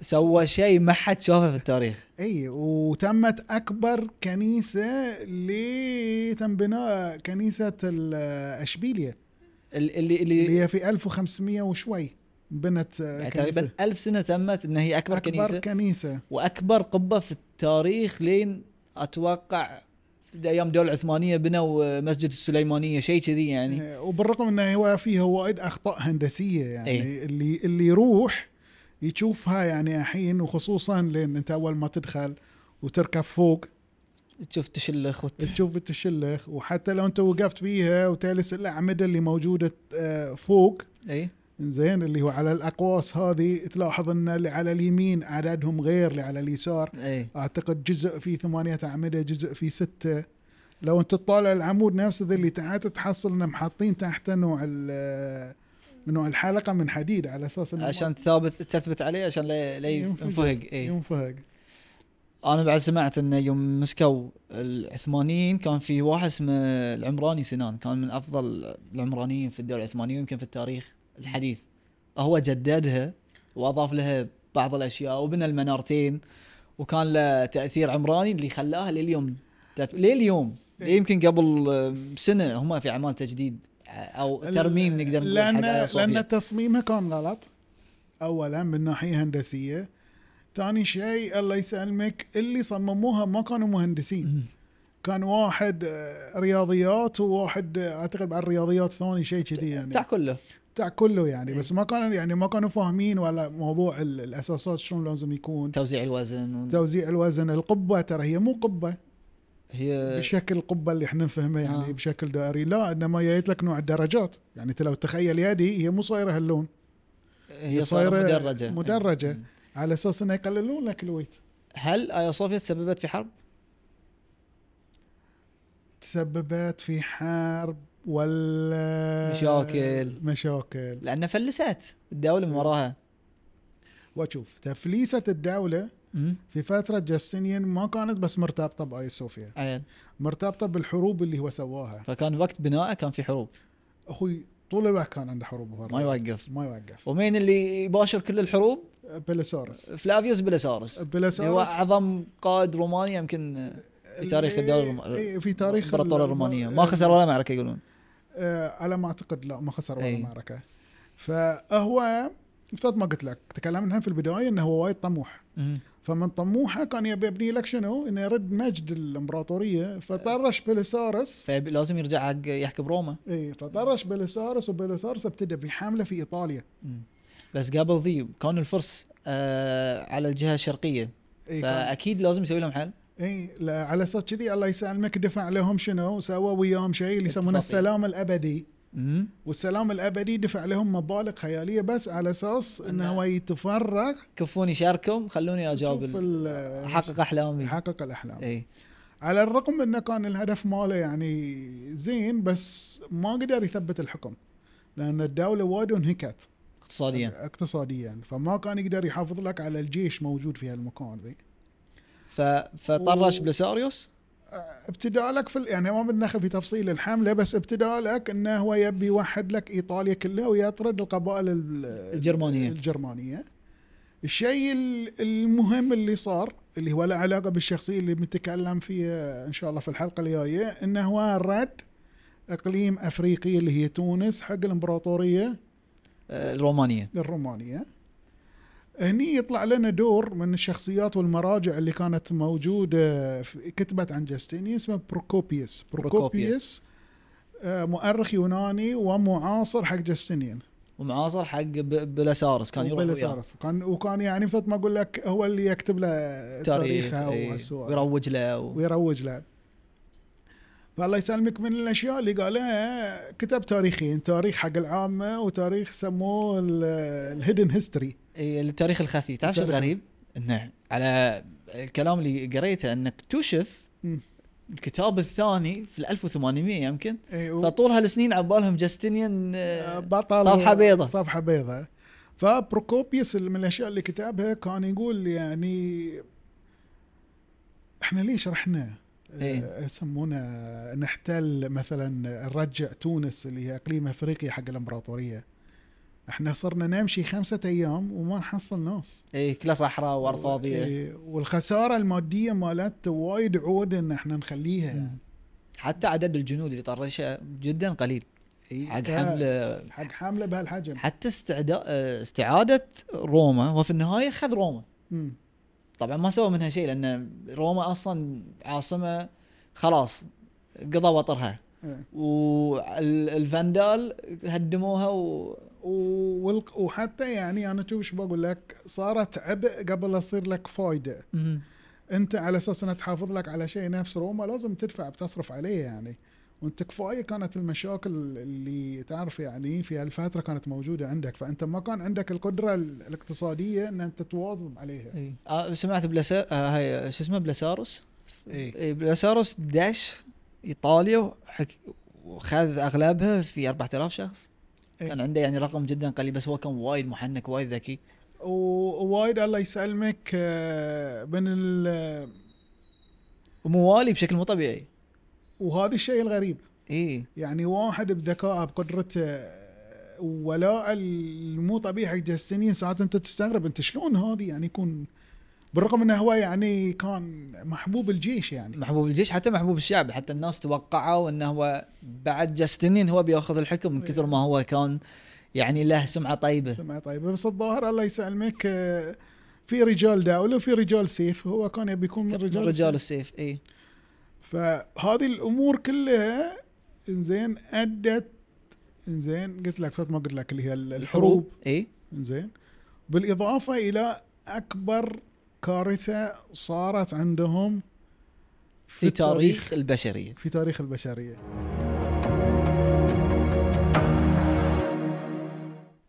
S1: سوى شيء ما حد شافه في التاريخ
S2: اي إيه، وتمت اكبر كنيسه اللي تم بناء كنيسه ال- اشبيليه
S1: ال- اللي اللي
S2: اللي هي في 1500 وشوي بنت آه،
S1: يعني
S2: كنيسة.
S1: تقريبا ألف سنه تمت ان هي اكبر,
S2: اكبر كنيسه,
S1: كنيسه واكبر قبه في التاريخ لين اتوقع في ايام الدوله العثمانيه بنوا مسجد السليمانيه شيء كذي يعني
S2: آه، وبالرغم انه هو فيها وايد اخطاء هندسيه يعني
S1: إيه.
S2: اللي اللي يروح يشوفها يعني الحين وخصوصا لان انت اول ما تدخل وتركب فوق
S1: تشوف تشلخ وت...
S2: تشوف التشلخ وحتى لو انت وقفت فيها وتالس الاعمده اللي موجوده آه، فوق
S1: اي
S2: زين اللي هو على الاقواس هذه تلاحظ ان اللي على اليمين عددهم غير اللي على اليسار
S1: اي
S2: اعتقد جزء فيه ثمانية اعمده جزء فيه ستة لو انت تطالع العمود نفسه ذا اللي تحت تحصل انهم حاطين تحته نوع ال- نوع الحلقه من حديد على اساس انه
S1: عشان تثابت تثبت عليه عشان لا لا
S2: ينفجر.
S1: ينفهق إيه. اي
S2: ينفهق
S1: انا بعد سمعت انه يوم مسكوا العثمانيين كان في واحد اسمه العمراني سنان كان من افضل العمرانيين في الدوله العثمانيه يمكن في التاريخ الحديث هو جددها واضاف لها بعض الاشياء وبنى المنارتين وكان له تاثير عمراني اللي خلاها لليوم تت- لليوم
S2: إيه.
S1: يمكن قبل آه، سنه هم في اعمال تجديد او ترميم نقدر نقول
S2: لان
S1: حق آيا صوفيا.
S2: لان تصميمها كان غلط اولا من ناحيه هندسيه ثاني شيء الله يسلمك اللي صمموها ما كانوا مهندسين
S1: مم.
S2: كان واحد آه، رياضيات وواحد آه، اعتقد بعد الرياضيات ثاني شيء كذي
S1: بتاع
S2: يعني
S1: كله
S2: بتاع كله يعني
S1: إيه.
S2: بس ما كانوا يعني ما كانوا فاهمين ولا موضوع ال- الاساسات شلون لازم يكون
S1: توزيع الوزن و...
S2: توزيع الوزن القبه ترى هي مو قبه
S1: هي
S2: بشكل القبه اللي احنا نفهمه يعني
S1: إيه. آه.
S2: بشكل دائري لا انما جايت لك نوع الدرجات يعني انت لو تخيل يدي هي مو صايره هاللون
S1: هي إيه. صايره مدرجه
S2: مدرجه على اساس انه يقللون لك الويت
S1: هل ايا صوفيا تسببت في حرب؟
S2: تسببت في حرب ولا
S1: مشاكل.
S2: مشاكل
S1: لان فلست الدوله من وراها
S2: واشوف تفليسه الدوله
S1: امم
S2: في فتره جاستينيان ما كانت بس مرتبطه باي صوفيا
S1: عيل
S2: مرتبطه بالحروب اللي هو سواها
S1: فكان وقت بنائه كان في حروب
S2: اخوي طول الوقت كان عنده حروب وهو
S1: ما يوقف
S2: ما يوقف
S1: ومين اللي يباشر كل الحروب؟
S2: بيليسورس
S1: فلافيوس بيليساروس أه، اللي هو
S2: بيليسورس
S1: اعظم قائد رومانيا يمكن في تاريخ الدوله الروم-
S2: إيه، في تاريخ أه،
S1: الامبراطوريه
S2: ال-
S1: الرومانيه ما خسر ولا معركه يقولون إيه.
S2: آه، على ما اعتقد لا ما خسر ولا
S1: أي.
S2: معركه فهو مثل ما قلت لك تكلمنا احنا في البدايه انه هو وايد طموح
S1: مم.
S2: فمن طموحه كان يبي يبني لك شنو؟ انه يرد مجد الامبراطوريه فطرش بيليسارس
S1: فلازم يرجع حق يحكي بروما
S2: اي فطرش بيليسارس وبيليسارس ابتدى بحمله في ايطاليا
S1: مم. بس قبل ذي كون الفرس آه على الجهه الشرقيه
S2: اي إيه، كان-
S1: فاكيد لازم يسوي لهم حل
S2: اي إيه، لا، على اساس كذي الله يسلمك دفع لهم شنو؟ سوى وياهم شيء اللي يسمونه
S1: اتفاقية.
S2: السلام الابدي
S1: مم.
S2: والسلام الابدي دفع لهم مبالغ خياليه بس على اساس انه
S1: إنه-
S2: هو يتفرغ
S1: كفوني شاركم خلوني اجاوب
S2: شوف
S1: ال- إيه.
S2: ال-
S1: احقق احلامي
S2: يحقق الاحلام
S1: اي
S2: على الرغم انه كان الهدف ماله يعني زين بس ما قدر يثبت الحكم لان الدوله وايد انهكت
S1: اقتصاديا
S2: اقتصاديا فما كان يقدر يحافظ لك على الجيش موجود في هالمكان ذي
S1: ف... فطرش
S2: و-
S1: بلساريوس
S2: ابتداء لك في ال- يعني ما بندخل في تفصيل الحمله بس ابتداء لك انه هو يبي يوحد لك ايطاليا كلها ويطرد القبائل ال-
S1: الجرمانية.
S2: الجرمانيه الشيء ال- المهم اللي صار اللي هو له علاقه بالشخصيه اللي بنتكلم فيها ان شاء الله في الحلقه الجايه انه هو رد اقليم افريقي اللي هي تونس حق الامبراطوريه
S1: آه، الرومانيه
S2: الرومانيه هني يطلع لنا دور من الشخصيات والمراجع اللي كانت موجوده في كتبت عن جاستيني اسمه بروكوبيوس بروكوبيوس آه، مؤرخ يوناني ومعاصر حق جاستينيان
S1: ومعاصر حق ب... بلسارس كان يروح وياه
S2: وبيليسارس. وكان وكان يعني مثل ما اقول لك هو اللي يكتب له
S1: تاريخ
S2: تاريخه
S1: إي.
S2: وهالسوالف
S1: ويروج له و...
S2: ويروج له فالله يسلمك من الاشياء اللي قالها كتب تاريخين تاريخ حق العامه وتاريخ سموه الهيدن هيستوري
S1: إيه، التاريخ الخفي تعرف شو
S2: التاريخ.
S1: الغريب؟ انه على الكلام اللي قريته انه اكتشف
S2: مم.
S1: الكتاب الثاني في ال 1800 يمكن
S2: إي، و-
S1: فطول هالسنين عبالهم جاستينيان آه،
S2: بطل
S1: صفحة بيضة.
S2: صفحة بيضة فبروكوبيوس من الاشياء اللي كتبها كان يقول يعني احنا ليش رحنا؟
S1: إيه.
S2: يسمونا نحتل مثلا نرجع تونس اللي هي اقليم افريقيا حق الامبراطوريه. احنا صرنا نمشي خمسة ايام وما نحصل ناس.
S1: اي كلها صحراء وارض فاضيه
S2: إيه، والخساره الماديه مالت وايد عود ان احنا نخليها
S1: مم. حتى عدد الجنود اللي طرشه جدا قليل
S2: إيه،
S1: حق
S2: ف-
S1: حمل
S2: حق حمله بهالحجم.
S1: حتى استعداء استعاده روما وفي النهايه خذ روما
S2: مم.
S1: طبعا ما سوى منها شيء لان روما اصلا عاصمه خلاص قضى وطرها
S2: إيه.
S1: والفاندال هدموها و
S2: و- والق- وحتى يعني انا شوف شو بقول لك صارت عبء قبل لا تصير لك فايده انت على اساس انها تحافظ لك على شيء نفس روما لازم تدفع بتصرف عليه يعني وانت كفايه كانت المشاكل اللي تعرف يعني في هالفتره كانت موجوده عندك فانت ما كان عندك القدره ال- الاقتصاديه ان انت تواظب عليها
S1: إيه. آه، سمعت بلسا آه، هاي شو اسمه بلاساروس
S2: إيه.
S1: بلاساروس داش ايطاليا وحك... وخذ اغلبها في 4000 شخص
S2: إيه.
S1: كان عنده يعني رقم جدا قليل بس هو كان وايد محنك وايد ذكي
S2: ووايد الله يسلمك آه، من ال-
S1: وموالي بشكل مو طبيعي
S2: وهذا الشيء الغريب
S1: اي
S2: يعني واحد بذكائه بقدرته ولاء المو طبيعي حق جاستينيان ساعات انت تستغرب انت شلون هذه يعني يكون بالرغم انه هو يعني كان محبوب الجيش يعني
S1: محبوب الجيش حتى محبوب الشعب حتى الناس توقعوا انه هو بعد جاستنين هو بياخذ الحكم من كثر ما هو كان يعني له سمعه طيبه
S2: سمع طيب بس الظاهر الله يسلمك آه، في رجال دولة وفي رجال سيف هو كان يبي يكون من رجال
S1: رجال
S2: السيف
S1: السيف اي
S2: فهذه الامور كلها انزين ادت انزين قلت لك فات ما قلت لك اللي هي الحروب
S1: اي
S2: زين بالاضافه الى اكبر كارثه صارت عندهم
S1: في
S2: التاريخ-
S1: تاريخ البشريه
S2: في تاريخ البشريه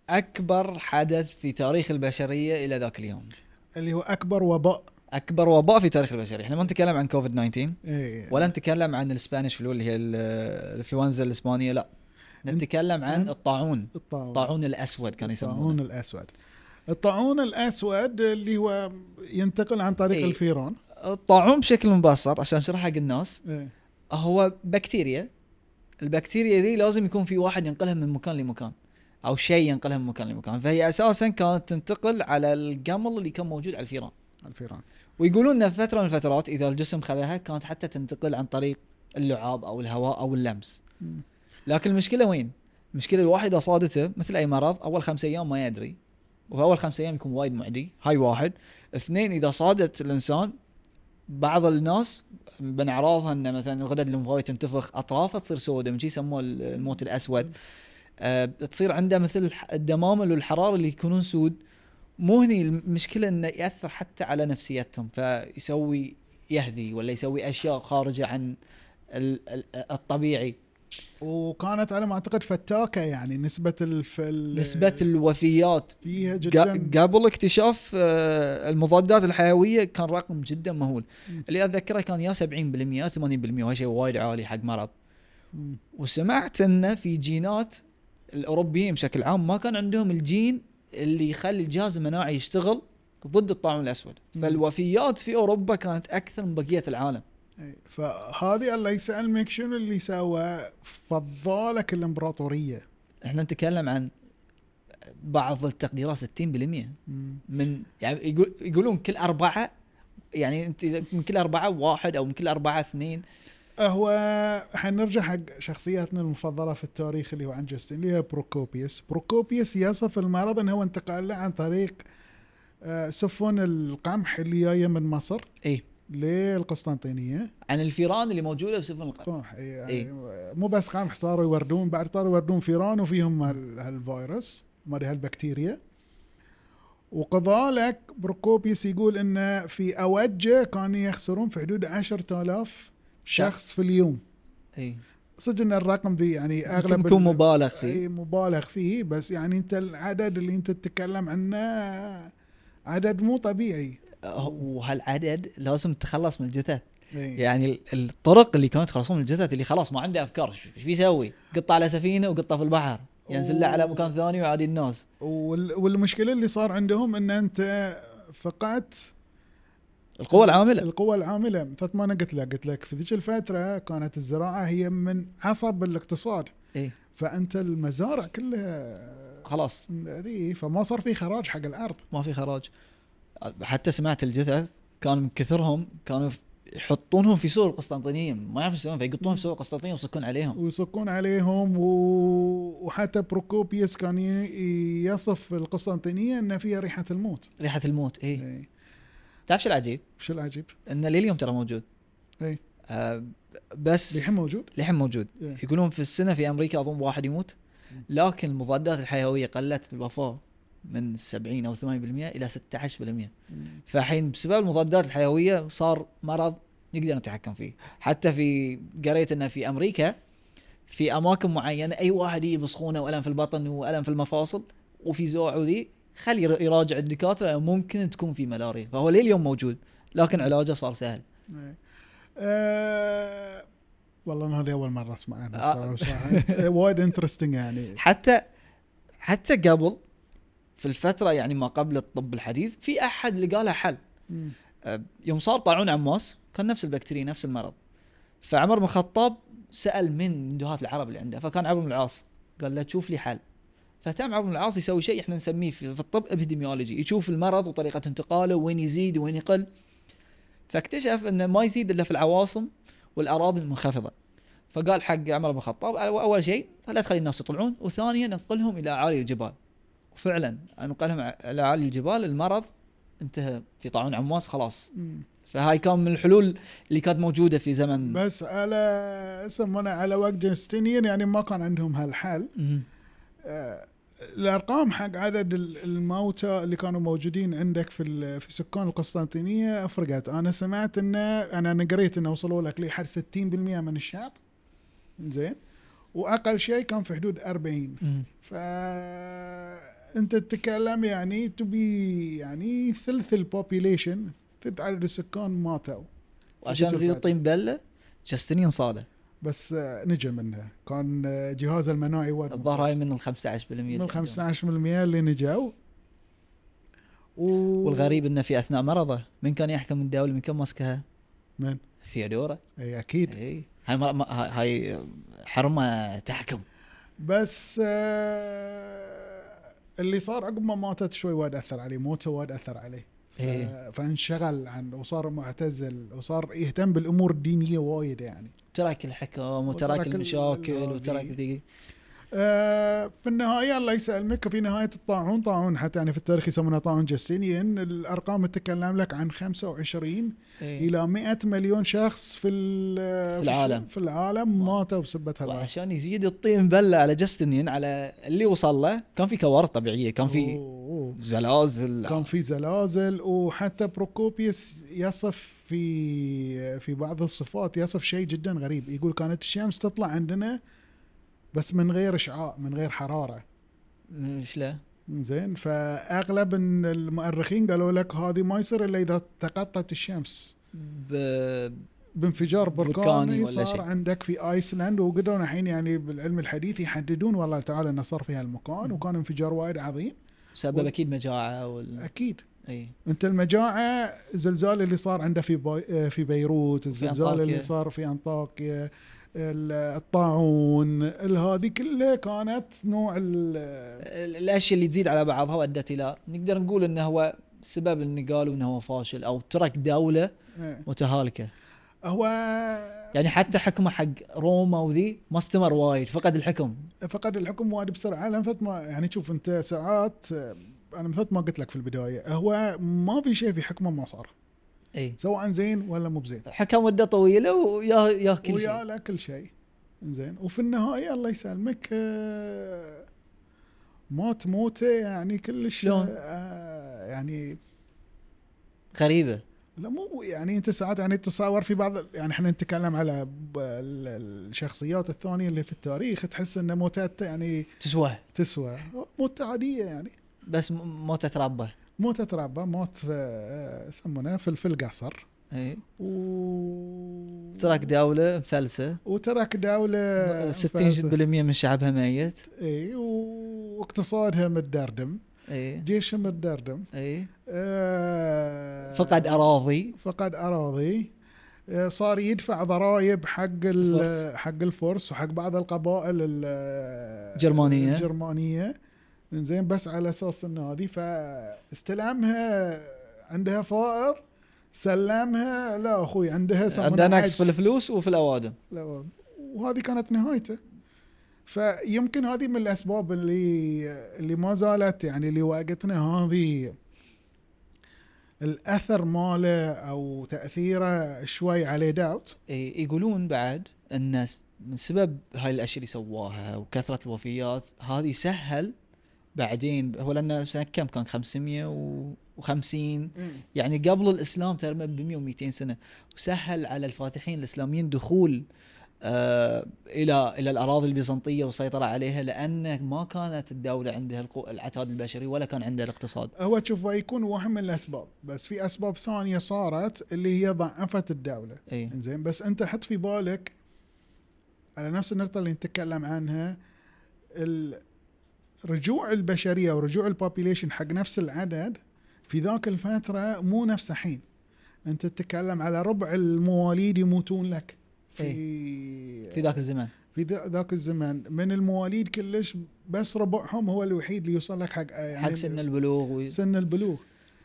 S1: اكبر حدث في تاريخ البشريه الى ذاك اليوم
S2: اللي هو اكبر وباء
S1: اكبر وباء في تاريخ البشريه احنا ما نتكلم عن كوفيد 19
S2: إيه.
S1: ولا نتكلم عن الاسبانيش فلو اللي هي ال- الانفلونزا الاسبانيه لا نتكلم عن الطاعون
S2: الطاعون
S1: الطاعون الاسود كان
S2: الطاعون
S1: يسمونه
S2: الاسود الطاعون الاسود اللي هو ينتقل عن طريق
S1: إيه.
S2: الفيران
S1: الطاعون بشكل مبسط عشان اشرح حق الناس
S2: إيه.
S1: هو بكتيريا البكتيريا دي لازم يكون في واحد ينقلها من مكان لمكان او شيء ينقلها من مكان لمكان فهي اساسا كانت تنتقل على القمل اللي كان موجود على الفيران
S2: الفيران
S1: ويقولون ان في فتره من الفترات اذا الجسم خذها كانت حتى تنتقل عن طريق اللعاب او الهواء او اللمس
S2: مم.
S1: لكن المشكله وين المشكله الواحد اذا صادته مثل اي مرض اول خمس ايام ما يدري واول خمسة ايام يكون وايد معدي هاي واحد اثنين اذا صادت الانسان بعض الناس من اعراضها انه مثلا الغدد اللمفاويه تنتفخ اطرافها تصير سوداء من شي يسموه الموت الاسود أه تصير عنده مثل الح- الدمامل والحراره اللي يكونون سود مو هني المشكله انه ياثر حتى على نفسيتهم فيسوي يهذي ولا يسوي اشياء خارجه عن ال- ال- الطبيعي
S2: وكانت على ما اعتقد فتاكه يعني نسبه الف... ال...
S1: نسبه الوفيات
S2: فيها جدا
S1: قا- قبل اكتشاف آه، المضادات الحيويه كان رقم جدا مهول
S2: مم.
S1: اللي اتذكره كان يا 70% او 80% وهذا شيء وايد عالي حق مرض
S2: مم.
S1: وسمعت انه في جينات الاوروبيين بشكل عام ما كان عندهم الجين اللي يخلي الجهاز المناعي يشتغل ضد الطاعون الاسود
S2: مم.
S1: فالوفيات في اوروبا كانت اكثر من بقيه العالم
S2: إي. إيه، فهذه الله يسلمك شنو اللي سوى فضالك الامبراطوريه
S1: احنا نتكلم عن بعض التقديرات 60%
S2: مم.
S1: من يعني يقول يقولون كل اربعه يعني انت إذا من كل اربعه واحد او من كل اربعه اثنين
S2: هو حنرجع حق شخصياتنا المفضله في التاريخ اللي هو عن جاستن اللي هي بروكوبيوس بروكوبيوس يصف المرض انه هو انتقل له عن طريق آه، سفن القمح اللي جايه من مصر
S1: ايه
S2: للقسطنطينيه
S1: عن الفيران اللي موجوده بسفن القمح
S2: قمح يعني
S1: إيه.
S2: مو بس قمح صاروا يوردون بعد صاروا يوردون فيران وفيهم هال- هالفيروس ما أدري هالبكتيريا وكذلك بروكوبيوس يقول انه في اوجه كانوا يخسرون في حدود 10000 شخص في اليوم
S1: اي
S2: صدق ان الرقم ذي يعني
S1: يمكن
S2: اغلب
S1: يكون
S2: ال- إيه.
S1: مبالغ فيه
S2: إي مبالغ فيه بس يعني انت العدد اللي انت تتكلم عنه عدد مو طبيعي
S1: أه، وهالعدد لازم تتخلص من الجثث
S2: إي.
S1: يعني ال- الطرق اللي كانوا يتخلصون من الجثث اللي خلاص ما عنده افكار شو شو بيسوي؟ قطه على سفينه وقطه في البحر ينزل له على مكان ثاني وعادي الناس
S2: وال- والمشكله اللي صار عندهم ان انت فقدت
S1: القوى العامله
S2: القوى العامله مثل ما انا قلت لك قلت لك في ذيك الفتره كانت الزراعه هي من عصب الاقتصاد
S1: اي
S2: فانت المزارع كلها
S1: إيه. خلاص
S2: ذي فما صار في خراج حق الارض
S1: ما في خراج حتى سمعت الجثث كان من كثرهم كانوا يحطونهم في سور القسطنطينيه ما يعرفون يسوون فيقطونهم في سور القسطنطينيه ويصكون عليهم
S2: ويصكون عليهم و... وحتى بروكوبيوس كان ي- يصف القسطنطينيه ان فيها ريحه الموت
S1: ريحه الموت اي
S2: إي.
S1: تعرف شو العجيب؟
S2: شو العجيب
S1: انه لليوم ترى موجود
S2: اي
S1: آه، بس
S2: للحين موجود
S1: لحم موجود
S2: إيه.
S1: يقولون في السنه في امريكا اظن واحد يموت لكن المضادات الحيويه قلت في الوفاه من 70 او 80% الى 16% فالحين بسبب المضادات الحيويه صار مرض نقدر نتحكم فيه حتى في قريت انه في امريكا في اماكن معينه اي واحد يجيب سخونه والم في البطن والم في المفاصل وفي زوع وذي خلي ير- يراجع الدكاتره لأنه ممكن تكون في ملاريا فهو لليوم موجود لكن علاجه صار سهل
S2: إي. أه... إيه. والله أنا هذه اول مره اسمع
S1: آه.
S2: عنها صراحه إي، وايد انترستنج يعني
S1: حتى حتى قبل في الفتره يعني ما قبل الطب الحديث في احد لقى له حل
S2: مم.
S1: أه، يوم صار طاعون عماس كان نفس البكتيريا نفس المرض فعمر بن الخطاب سال من من دهات العرب اللي عنده فكان عمرو بن العاص قال له شوف لي حل فتم عمرو بن العاص يسوي شيء احنا نسميه في في الطب ابيديميولوجي يشوف المرض وطريقه انتقاله وين يزيد وين يقل فاكتشف انه ما يزيد الا في العواصم والاراضي المنخفضه فقال حق عمر بن الخطاب أو- اول شيء لا تخلي الناس يطلعون وثانيا انقلهم الى اعالي الجبال وفعلا انقلهم ع- الى اعالي الجبال المرض انتهى في طاعون عمواس خلاص
S2: مم.
S1: فهاي كان من الحلول اللي كانت موجوده في زمن
S2: بس على يسمونه على وقت جنستينيين يعني ما كان عندهم هالحل
S1: مهم.
S2: آه، الارقام حق عدد ال- الموتى اللي كانوا موجودين عندك في ال- في سكان القسطنطينيه فرقت انا سمعت انه انا انا قريت انه وصلوا لك لحد 60% من الشعب زين واقل شيء كان في حدود 40
S1: مهم.
S2: فانت تتكلم يعني تبي يعني ثلث البوبيليشن ثلث عدد السكان ماتوا
S1: وعشان
S2: شوف
S1: نزيد
S2: بعد.
S1: الطين بله جاستن ينصاده
S2: بس آه، نجا منه كان آه، جهازه المناعي وايد
S1: الظاهر هاي من ال 15%
S2: من ال 15% اللي نجوا و...
S1: والغريب انه في اثناء مرضه من كان يحكم الدوله من كان ماسكها؟
S2: من
S1: ثيودورا
S2: اي اكيد
S1: اي هاي مر- ما- هاي هاي حرمه تحكم
S2: بس آه اللي صار عقب ما ماتت شوي وايد اثر عليه موته وايد اثر عليه ف-
S1: إيه.
S2: فانشغل عن وصار معتزل وصار يهتم بالامور الدينيه وايد يعني
S1: تراك الحكم
S2: وترك
S1: وتراك
S2: ال-
S1: المشاكل
S2: ال-
S1: وتراك
S2: ذي.
S1: ذي إيه.
S2: آه، في النهايه الله يسلمك في نهايه الطاعون طاعون حتى يعني في التاريخ يسمونها طاعون جستينيان الارقام تتكلم لك عن 25
S1: إيه.
S2: الى 100 مليون شخص في ال-
S1: العالم.
S2: في العالم ماتوا بسبه هالعالم
S1: وعشان يزيد الطين بله على جاستنين على اللي وصل له كان في كوارث طبيعيه كان في
S2: أوه،
S1: زلازل
S2: أوه. كان في زلازل وحتى بروكوبيوس يصف في في بعض الصفات يصف شيء جدا غريب يقول كانت الشمس تطلع عندنا بس من غير اشعاع من غير حراره
S1: ايش له؟
S2: زين فاغلب إن المؤرخين قالوا لك هذه ما يصير الا اذا تقطعت الشمس
S1: ب-
S2: بانفجار
S1: بركاني
S2: بركاني
S1: ولا
S2: صار
S1: شيء.
S2: عندك في ايسلند وقدروا الحين يعني بالعلم الحديث يحددون والله تعالى انه صار في هالمكان وكان انفجار وايد عظيم
S1: سبب اكيد مجاعه وال...
S2: اكيد
S1: اي
S2: انت المجاعه الزلزال اللي صار عنده في باي في بيروت الزلزال
S1: أنطاكيا.
S2: اللي صار في انطاكيا ال- الطاعون ال- هذه كلها كانت نوع ال-
S1: ال- الاشياء اللي تزيد على بعضها وادت الى نقدر نقول انه هو سبب ان قالوا انه هو فاشل او ترك دوله
S2: إيه.
S1: متهالكه
S2: هو
S1: يعني حتى حكمه حق روما وذي ما استمر وايد فقد الحكم
S2: فقد الحكم وايد بسرعه لان فت ما يعني شوف انت ساعات انا مثل ما قلت لك في البدايه هو ما في شيء في حكمه ما صار
S1: اي
S2: سواء زين ولا مو بزين
S1: حكم مده طويله وياه ياه كل
S2: ويا
S1: شيء
S2: لا كل شيء زين وفي النهايه الله يسلمك آه، موت موته يعني كلش
S1: شلون؟
S2: آه، يعني
S1: غريبه
S2: لا مو يعني انت ساعات يعني تتصور في بعض يعني احنا نتكلم على ب- ال- ال- الشخصيات الثانيه اللي في التاريخ تحس ان موتات يعني
S1: تسوى
S2: تسوى موتة عاديه يعني
S1: بس م- موتة ربه
S2: موتة ربا موت في آه، يسمونه فلفل قصر
S1: اي
S2: و
S1: ترك دولة مفلسة
S2: وترك دولة
S1: 60% من شعبها ميت
S2: اي إيه، واقتصادها متدردم
S1: اي
S2: جيشها متدردم
S1: اي
S2: آه،
S1: فقد أراضي
S2: فقد اراضي آه، صار يدفع ضرائب حق ال-
S1: الفرس.
S2: حق الفرس وحق بعض القبائل ال-
S1: الجرمانية.
S2: الجرمانيه زين بس على اساس انه هذه فاستلمها عندها فائض سلمها لا اخوي عندها يسمونها
S1: عندها نقص في
S2: عجز.
S1: الفلوس وفي الأوادم
S2: لا، وهذه كانت نهايته فيمكن هذه من الاسباب اللي اللي ما زالت يعني لوقتنا هذه الاثر ماله او تاثيره شوي عليه داوت
S1: إي، يقولون بعد الناس من سبب هاي الأشياء اللي سواها وكثرة الوفيات هذه سهل بعدين هو لأنه سنة كم كان 550 يعني قبل الاسلام تقريبا ب 100 و200 سنه وسهل على الفاتحين الاسلاميين دخول آه الى الى الاراضي البيزنطيه والسيطره عليها لان ما كانت الدوله عندها القو- العتاد البشري ولا كان عندها الاقتصاد
S2: هو تشوف يكون واحد من الاسباب بس في اسباب ثانيه صارت اللي هي ضعفت الدوله
S1: اي
S2: زين بس انت حط في بالك على نفس النقطه اللي نتكلم عنها ال- رجوع البشريه ورجوع البوبيليشن حق نفس العدد في ذاك الفتره مو نفس الحين انت تتكلم على ربع المواليد يموتون لك في
S1: في ذاك الزمان
S2: في ذا- ذاك الزمان من المواليد كلش بس ربعهم هو الوحيد اللي يوصل لك حق يعني
S1: حق سن البلوغ و...
S2: سن البلوغ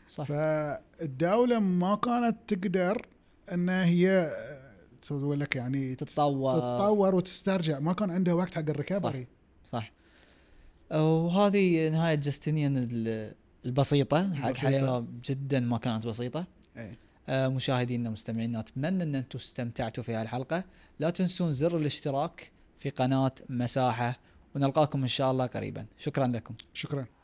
S1: صح
S2: فالدولة ما كانت تقدر ان هي تسوي لك يعني
S1: تتطور.
S2: تتطور وتسترجع ما كان عندها وقت حق الريكفري
S1: صح وهذه نهايه جاستينيان ال- البسيطه حق
S2: البسيطة.
S1: حياه جدا ما كانت بسيطه
S2: إيه.
S1: آه، مشاهدينا ومستمعينا اتمنى ان انتم استمتعتوا في هالحلقه لا تنسون زر الاشتراك في قناه مساحه ونلقاكم ان شاء الله قريبا شكرا لكم
S2: شكرا